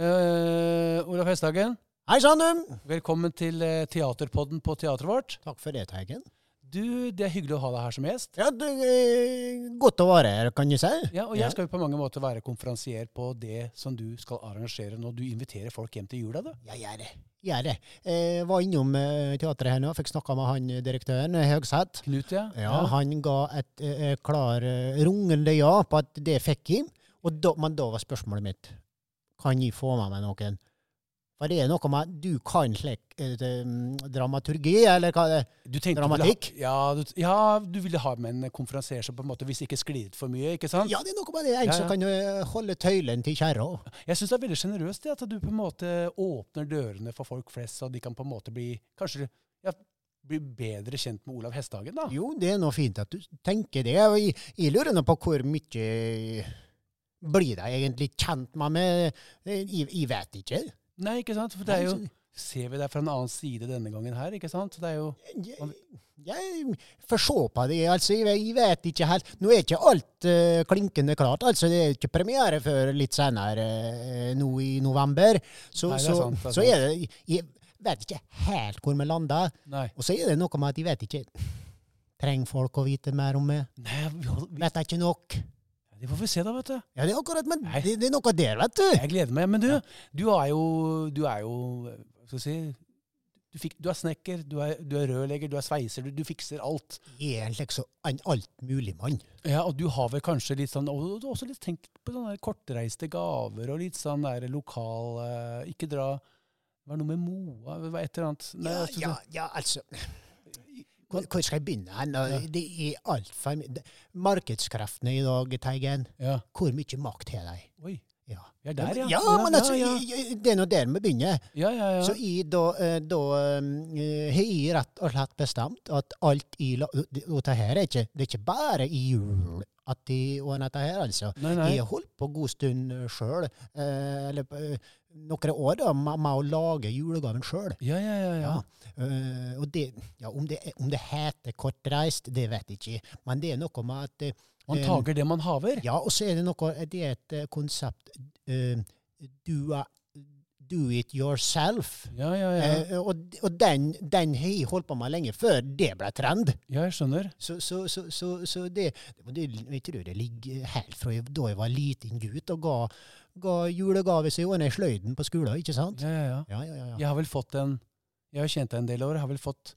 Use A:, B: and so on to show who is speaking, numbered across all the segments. A: Eh, Olav Hesthagen,
B: Hei sann, du!
A: velkommen til eh, Teaterpodden på teatret vårt.
B: Takk for det, Teigen.
A: Du, Det er hyggelig å ha deg her som gjest.
B: Ja, du, eh, godt å være her, kan du si.
A: Ja, Og jeg skal jo på mange måter være konferansier på det som du skal arrangere når du inviterer folk hjem til jula. du.
B: Ja, gjør det. Gjør det. Eh, var innom eh, teatret her nå, fikk snakka med han eh, direktøren, eh, Høgseth.
A: Knut, ja.
B: Ja, Han ga et eh, eh, klar eh, rungende ja på at det fikk jeg. Og da, men da var spørsmålet mitt Kan jeg få med meg noen? For det er noe med Du kan slik eh, det, mm, dramaturgi, eller hva det er?
A: Du tenkte
B: Dramatikk?
A: Du ville ha, ja, du, ja, du ville ha med en konferansier som på en måte hvis ikke sklir ut for mye. ikke sant?
B: Ja, det er noe med det. En
A: Ja,
B: som
A: ja.
B: kan eh, holde tøylen til kjerra.
A: Jeg syns det er veldig sjenerøst det, at du på en måte åpner dørene for folk flest, så de kan på en måte bli kanskje ja, bli bedre kjent med Olav Hesthagen. da.
B: Jo, det er nå fint at du tenker det. og Jeg, jeg lurer nå på hvor mye blir de egentlig kjent med meg? Jeg, jeg vet ikke.
A: Nei, ikke sant? For det er jo, ser vi deg fra en annen side denne gangen her, ikke sant? Det er jo,
B: Jeg, jeg får se på det. altså, jeg, jeg vet ikke helt. Nå er ikke alt eh, klinkende klart. altså Det er ikke premiere før litt senere eh, nå i november. Så,
A: Nei, det er
B: så,
A: sant, det er
B: så er det Jeg vet ikke helt hvor vi lander.
A: nei.
B: Og så er det noe med at jeg vet ikke Trenger folk å vite mer om meg?
A: Nei, vi, hold- vi,
B: Vet jeg ikke nok?
A: det får vi se da, vet du.
B: Ja, det er akkurat, men
A: Nei.
B: det, det er noe der, vet du.
A: Jeg gleder meg. Men du, du er jo, du er jo, hva skal jeg si, du, fikk, du er snekker, du er, du er rørlegger, du er sveiser, du, du fikser alt.
B: Jeg er en slags en altmuligmann.
A: Ja, og du har vel kanskje litt sånn, og du har også litt tenkt på sånne der kortreiste gaver, og litt sånn der lokal, eh, ikke dra, hva er noe med Moa, hva er et eller annet? Nei,
B: Ja,
A: altså,
B: ja, ja, altså hvor, hvor skal jeg begynne? hen? Og Det er altfor mye det- Markedskreftene i dag, Teigen.
A: ja.
B: Hvor mye makt har de?
A: Oi,
B: Ja.
A: vi er der, ja.
B: ja, men altså,
A: ja, ja.
B: jeg- jeg- det er nå der vi begynner.
A: Ja, ja, ja.
B: Så jeg da, eh, da eh, har jeg rett og slett bestemt at alt jeg la... Og det- og det her er ikke, det er ikke bare i jul at de ordner dette her, altså.
A: Nei, nei.
B: Jeg har holdt på en god stund sjøl, eh, eller eh, noen år, da, med, med å lage julegaven sjøl.
A: Ja, ja, ja, ja.
B: Ja. Eh, og det, ja, om, det, er- om det heter kortreist, det vet jeg ikke. Men det er noe med at eh,
A: Man
B: eh,
A: tager det man haver.
B: Ja, og så er det noe Det er et eh, konsept eh, do, a- do it yourself.
A: Ja, ja, ja.
B: Eh, og og den, den har jeg holdt på med lenge før det ble trend.
A: Ja, jeg skjønner.
B: Så, så, så, så, så det, det Jeg tror det ligger helt fra jeg- da jeg var liten gutt og ga, ga julegave så jeg ordnet sløyden på skolen, ikke sant?
A: Ja, ja, ja.
B: Ja, ja, ja. ja.
A: Jeg har vel fått en Jeg har kjent deg en del år. Jeg har vel fått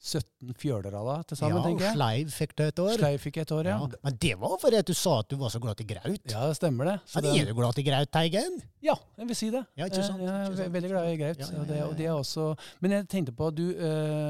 A: 17 fjøler av deg til sammen,
B: ja, og
A: tenker jeg.
B: Sleiv fikk du et år.
A: Sleif fikk jeg et år, ja.
B: Ja, men det var fordi at du sa at du var så glad til graut.
A: Ja, det stemmer det. Så
B: Men er
A: den,
B: du glad til graut, Teigen?
A: ja, jeg vil si det.
B: Ja, ikke sant,
A: Eh, Jeg er ve-
B: ikke sant.
A: veldig glad i graut.
B: Ja, ja,
A: og det-
B: ja, ja,
A: Og det er også Men jeg tenkte på at du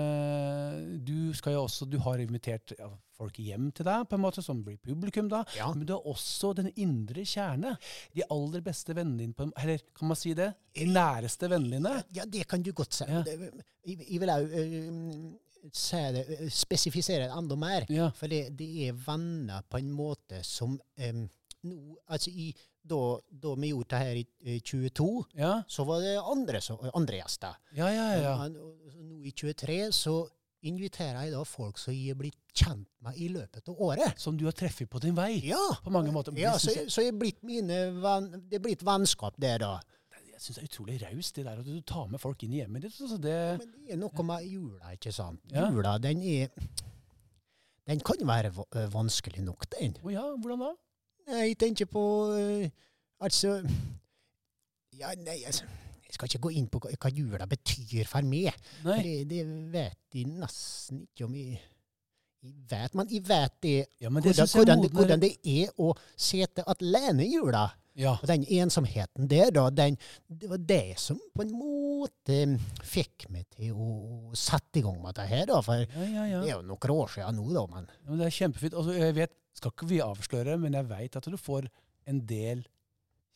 A: eh, Du skal jo også Du har invitert ja, folk hjem til deg, på en måte, som blir publikum, da.
B: Ja.
A: Men du har også den indre kjerne. De aller beste vennene dine, på en- eller kan man si det? De næreste vennene dine.
B: Ja, det kan du godt si.
A: Ja.
B: Det- Jeg jeg vil òg si det, eh, spesifisere det enda mer.
A: Ja.
B: For det, det er venner på en måte som em, nå, altså i, da, da vi gjorde det her i eh, 22,
A: Ja,
B: så var det andre, som- eh, andre gjester.
A: ja, ja. ja.
B: Men, eh, nå i 23 så inviterer jeg da folk som jeg er blitt kjent med i løpet av året.
A: Som du har treffet på din vei.
B: Ja,
A: På mange måter. Men
B: ja
A: det
B: så,
A: syns
B: jeg, så jeg er blitt mine venn, det er blitt vennskap der, da.
A: jeg, jeg syns det er utrolig raust, det der at du tar med folk inn i hjemmet ditt. Så det,
B: Men det er noe med jula, ikke sant?
A: Ja.
B: Jula, den er Den kan være va- øh, vanskelig nok, den.
A: å ja, hvordan da?
B: Jeg tenker på øh, Altså Ja, nei, altså Jeg skal ikke gå inn på hva hva jula betyr for meg.
A: Nei,
B: For det, det vet jeg nesten ikke om jeg, jeg vet. Men jeg vet det,
A: ja, men det
B: hvordan,
A: syns jeg
B: hvordan, det,
A: modner
B: hvordan det er å sitte alene i jula.
A: Ja,
B: Og den ensomheten der, da, den, det var det som på en måte fikk meg til å sette i gang med dette her, da. For
A: ja, ja. ja.
B: det er jo noen år siden nå, da, men
A: Ja, Men det er kjempefint. Altså, jeg vet, skal ikke vi avsløre, men jeg veit at du får en del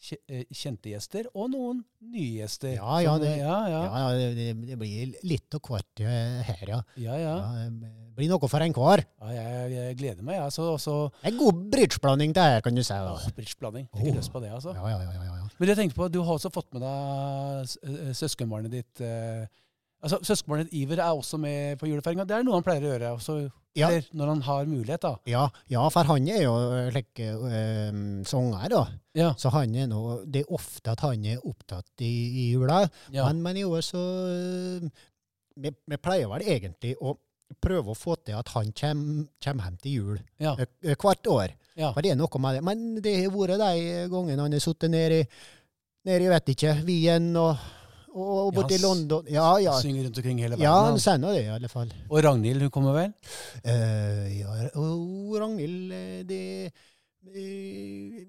A: kje- eh, kjente gjester, og noen nye gjester.
B: Ja, ja,
A: Som,
B: det-
A: eh, ja, ja,
B: ja, ja, det, det blir litt av hvert eh, her, ja.
A: ja, ja.
B: ja. Det blir noe for enhver.
A: ja jeg, jeg gleder meg, jeg. Ja. Så også
B: En god bridgeblanding, det her, kan du si. da.
A: Åh, bridgeblanding. Fikk
B: Åh.
A: lyst på det, altså.
B: Ja, ja, ja, ja, ja.
A: Men jeg tenkte på, du har også fått med deg s- eh, søskenbarnet ditt. eh, Altså, Søskenbarnet ditt Iver er også med på julefeiringa. Det er noe han pleier å gjøre. og Så
B: Ja.
A: Eller når han har mulighet, da.
B: Ja, ja, for han er jo eh, slik eh, sanger, da.
A: Ja.
B: Så han er nå Det er ofte at han er opptatt i, i jula.
A: ja.
B: Men, men jo, så eh, vi, vi pleier vel egentlig å prøve å få til at han kommer hjem til jul
A: Ja.
B: eh, eh, hvert år.
A: Ja.
B: For det er noe med det. Men det har vært de gangene han har sittet nede i, nede i vet ikke, Wien og, og, og
A: Ja,
B: borti
A: han s-
B: London. Ja, ja.
A: Synger rundt omkring hele verden.
B: Ja, han
A: han.
B: sier nå det, i alle fall.
A: Og Ragnhild, hun kommer vel?
B: Eh, ja, og Ragnhild, eh, det eh,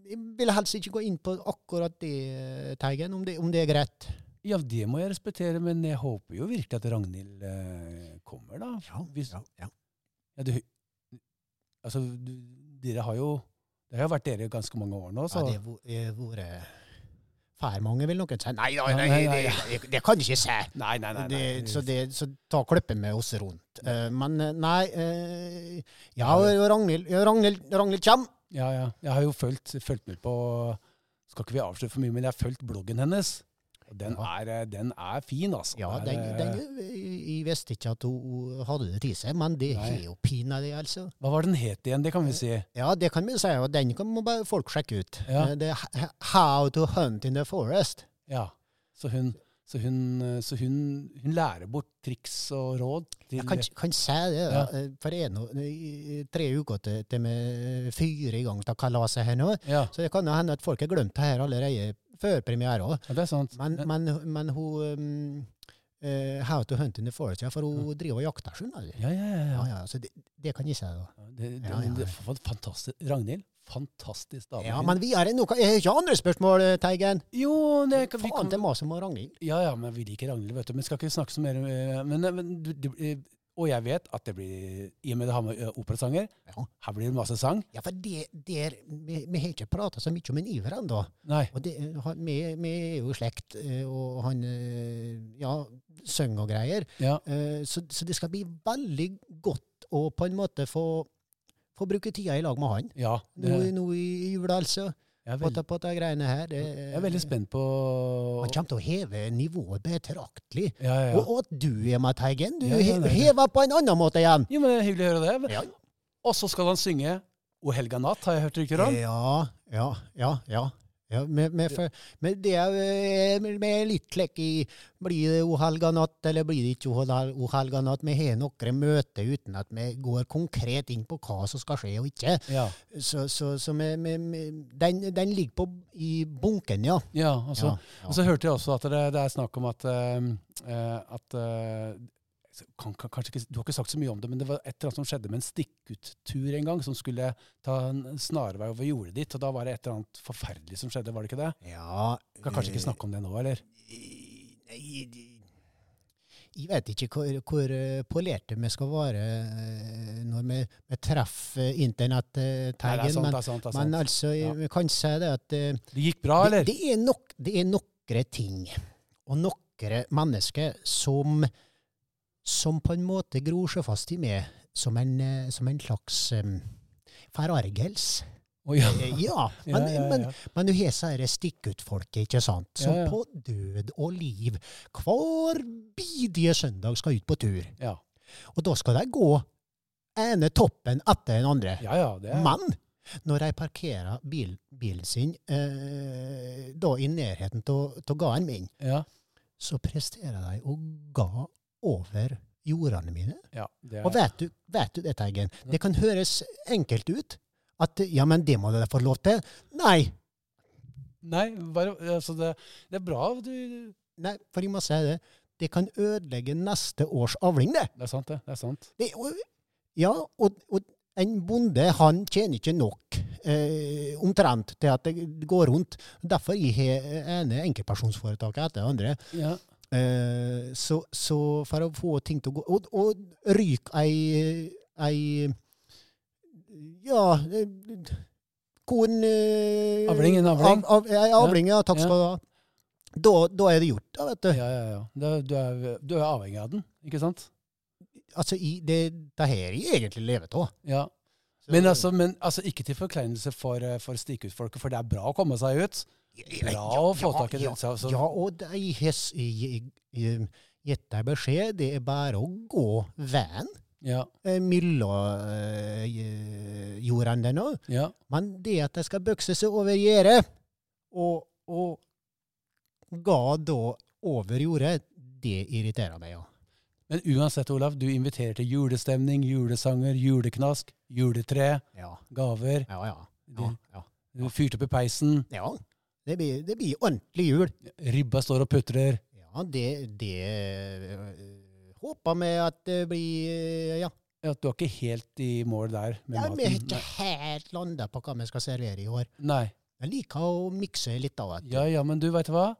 B: Jeg ville helst ikke gå inn på akkurat det, eh, Teigen, om det, om det er greit.
A: Ja, det må jeg respektere, men jeg håper jo virkelig at Ragnhild eh, kommer, da. Hvis, ja. du, altså, du, dere har jo Det har jo vært dere i ganske mange år nå,
B: Ja,
A: så
B: det har vært fær mange, vil noen si. Nei, nei,
A: Ja,
B: nei,
A: nei, nei,
B: det, det, det kan du ikke si.
A: Nei, nei, nei. nei.
B: Det, så, det, så ta klippet med oss rundt. Eh, men eh, nei eh, Ja,
A: Ja, det-
B: og Ragnhild, ja, Ragnhild, Ragnhild kommer.
A: Ja, ja. Jeg har jo fulgt, fulgt med på Skal ikke vi avsløre for mye, men jeg har fulgt bloggen hennes. Og den,
B: Ja.
A: er, eh, den er fin, altså.
B: Ja,
A: Det
B: den,
A: er, eh,
B: den, jeg visste ikke at hun hadde det til seg, men det
A: Nei.
B: er jo pinadø, altså.
A: Hva var den het igjen? Det kan vi si.
B: Ja, det kan vi si, og den kan må bare folk sjekke ut.
A: Ja.
B: Eh, Det er h- h- How to hunt in the forest.
A: Ja. Så hun, så hun, eh, så hun, hun lærer bort triks og råd til
B: Jeg kan, kan si det,
A: Ja.
B: da. Eh, for det er nå eh, i tre uker til, til vi eh, fyrer i gang dette kalaset her nå.
A: ja.
B: Så det kan jo hende at folk har glemt det her allerede før premiere òg.
A: ja, det er sant.
B: Men, men, men hun um, eh, How to hunt in the forest, ja, for hun driver og jakter, skjønner du.
A: ja, ja, ja, ja.
B: Ja, ja, så det, det kan jeg si, da.
A: Ja, Det, det,
B: Ja, ja,
A: det
B: ja.
A: var fantastisk. Ragnhild, fantastisk dame.
B: Ja,
A: Hun-
B: men vi er i noe Jeg har ikke andre spørsmål, eh, Teigen.
A: jo, det, kan- vi
B: Faen,
A: kan,
B: det maser om Ragnhild.
A: ja, ja, men vi liker Ragnhild, vet du. Men skal ikke snakke så mer om eh, men, eh, men, du- det, eh, Og jeg vet at det blir I og med det har med eh, operasanger,
B: Ja.
A: her blir det masse sang.
B: Ja, for det der Vi, vi har ikke prata så mye om en Iver ennå.
A: Nei.
B: Og det, han, vi, vi er jo i slekt, eh, og han eh, ja, synger og greier.
A: Ja,
B: Eh, Så, så det skal bli veldig godt å på en måte få, få bruke tida i lag med han.
A: ja
B: Nå, i-
A: det,
B: nå i jula, altså.
A: jeg, er
B: På,
A: veld,
B: det- på de greiene her. det-
A: jeg er veldig spent på
B: Han kommer til å heve nivået betraktelig.
A: Ja, ja, ja.
B: Og, og du, Emma Teigen, du
A: Ja, ja,
B: he-
A: det-
B: hever på en annen måte igjen.
A: Jo, men det er Hyggelig å høre det.
B: Ja,
A: Og så skal han synge O helga natt, har jeg hørt rykter
B: Eh,
A: om.
B: Ja, ja, ja. ja. ja men, men, for, men det er eh, men- men litt klekk i Blir det O helga natt, eller blir det ikke O hel- O helga natt? Vi har noen møter uten at vi går konkret inn på hva som skal skje og ikke.
A: Ja,
B: Så, så, så vi, vi, vi, den, den ligger på, i bunken, ja. Altså,
A: ja og så
B: Ja, ja.
A: Og så hørte jeg også at det, det er snakk om at, eh, eh, at eh, så kan, kan, kanskje ikke, Du har ikke sagt så mye om det, men det var et eller annet som skjedde med en stikkuttur en gang, som skulle ta en snarvei over jordet ditt, og da var det et eller annet forferdelig som skjedde, var det ikke det?
B: ja
A: Vi kan kanskje ikke snakke om det nå, eller?
B: Eh, Nei, de- jeg vet ikke hvor, hvor eh, polerte vi skal være eh, når vi, vi treffer
A: Nei, det er
B: internett-taggen,
A: sant,
B: men,
A: det er sant. Det, er
B: men
A: sant.
B: altså,
A: Ja.
B: vi kan si det at eh,
A: det gikk bra,
B: det,
A: eller?
B: det, er nok, det er nokre ting og nokre mennesker som, som på en måte gror seg fast i meg som en, eh, som en slags um, farargels.
A: Å, ja.
B: Eh, Ja,
A: Ja,
B: men,
A: ja, ja.
B: men men du har disse stikkutfolket, ikke sant, som
A: Ja, ja.
B: på død og liv hver bidige søndag skal ut på tur.
A: Ja.
B: Og da skal de gå ene toppen etter den andre.
A: ja, ja, det er
B: Men når de parkerer bil, bilen sin eh, da i nærheten av gården min,
A: ja,
B: så presterer de å ga over jordene mine.
A: ja, det
B: Og
A: er,
B: vet du, vet du det, Teigen? Det kan høres enkelt ut. At ja, men det må de få lov til. Nei.
A: Nei, bare, altså det, det er bra. Du, det
B: Nei, for jeg må si det. Det kan ødelegge neste års avling, det.
A: er sant, det. det er sant.
B: det er jo- ja, og, og en bonde han tjener ikke nok eh, omtrent til at det går rundt. Derfor jeg har eh, ene enkeltpersonsforetaket etter det andre.
A: Ja,
B: Eh, så, så for å få ting til å gå Og, og ryk ei, ei Ja eh, Korn eh,
A: Avling, en avling.
B: Av, av, ei avling, ja. Takk
A: Ja.
B: skal du ha. Da, da er det gjort, da, vet du.
A: ja, ja. ja. Det, du, er, du er avhengig av den, ikke sant?
B: altså, i, det, det her jeg egentlig lever av.
A: Ja. Men altså, men altså ikke til forkleinelse for, eh, for stikkutfolket, for det er bra å komme seg ut. Bra å få tak i det. Så, altså, så,
B: Ja, og de har s- i- i- i- gitt deg beskjed. Det er bare å gå veien.
A: Ja.
B: eh, mellom eh, jordene nå.
A: ja.
B: Men det at de skal bøkse seg over gjerdet, og, og ga da over jordet, det irriterer meg, ja.
A: Men uansett, Olav, du inviterer til julestemning, julesanger, juleknask, juletre,
B: Ja,
A: gaver.
B: ja, ja. ja, ja.
A: Du fyrte opp i peisen,
B: ja. Det, blir, det blir ordentlig jul.
A: ribba står og putrer.
B: Ja, det, det øh, håper vi at det blir øh, Ja,
A: Ja, du er ikke helt i mål der med
B: ja vi har
A: maten.
B: ikke helt landa på hva vi skal servere i år.
A: Nei.
B: Jeg liker å mikse litt av at
A: Ja, ja, men du, veit du hva?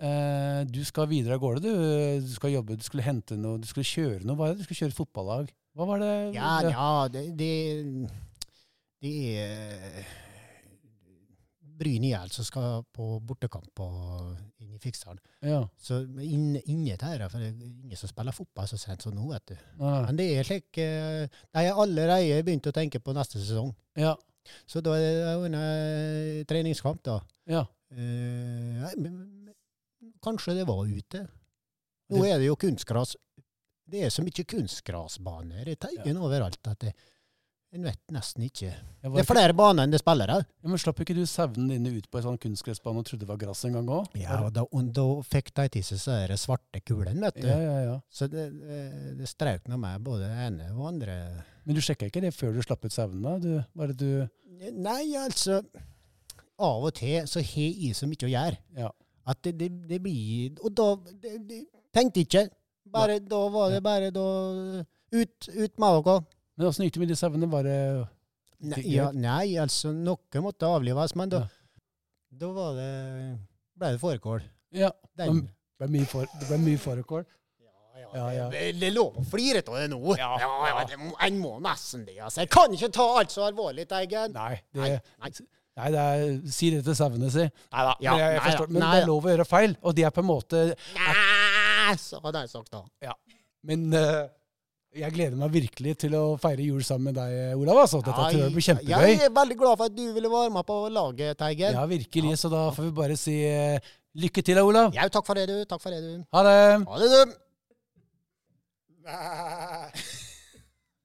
A: Eh, du skal videre av gårde, du. Du skal jobbe, du skulle hente noe, du skulle kjøre noe. Hva er det? Du skulle kjøre et fotballag. Hva var det?
B: Ja, ja, det, det, det er Bryne IL som skal på bortekamp på, inne i Fiksdalen.
A: ja.
B: Så inne, inne der, for det er ingen som spiller fotball så sent som nå, vet du.
A: Ah,
B: Men det er slik eh, De har allerede begynt å tenke på neste sesong.
A: ja.
B: Så da er det jo en eh, treningskamp, da.
A: Ja.
B: Eh, nei, men, men kanskje det var ute. Nå er det jo kunstgras. Det er så mye kunstgrasbaner i Teigen overalt at det, en vet nesten ikke
A: Jeg
B: Det
A: var
B: er flere baner enn det spiller her.
A: ja, men slapp ikke du sauene dine ut på en sånn kunstgressbane og trodde det var gress en gang òg?
B: Ja, og da, og da fikk de til seg så er det svarte kulen, vet du.
A: ja, ja, ja.
B: Så det, eh, det strøk nå meg både det ene og det andre.
A: Men du sjekka ikke det før du slapp ut sauene? Du, bare du
B: Nei, altså Av og til så har jeg så mye å gjøre.
A: Ja.
B: At det, det, det blir Og da det, det, tenkte jeg ikke. Bare, da var det bare da Ut, ut med dere.
A: Men åssen gikk det med de sauene? Bare
B: Nei,
A: Fikk
B: ja, nei, altså noe måtte avlives, men da,
A: Ja.
B: da var det ble det fårikål.
A: Ja.
B: Den.
A: Mm. Det ble mye for- det ble mye fårikål. Ja, ja.
B: Det, det er lov å flire av det nå. Ja, ja, det må- En må nesten det. altså. Jeg kan ikke ta alt så alvorlig, Teigen.
A: Nei,
B: Nei,
A: det,
B: nei.
A: nei det er, si det til sauene, si.
B: Nei da.
A: men jeg, jeg forstår, men det er lov å gjøre feil, og det er på en måte
B: Nei, så hadde jeg sagt da.
A: Men eh, jeg gleder meg virkelig til å feire jul sammen med deg, Olav. Altså. Dette tror jeg blir kjempegøy.
B: Jeg er veldig glad for at du ville være med på laget, Teigen.
A: Ja, virkelig. Så da får vi bare si eh, lykke til, da, Olav.
B: Ja, takk for det, du. Takk for det, du.
A: Ha det!
B: Ha det, du.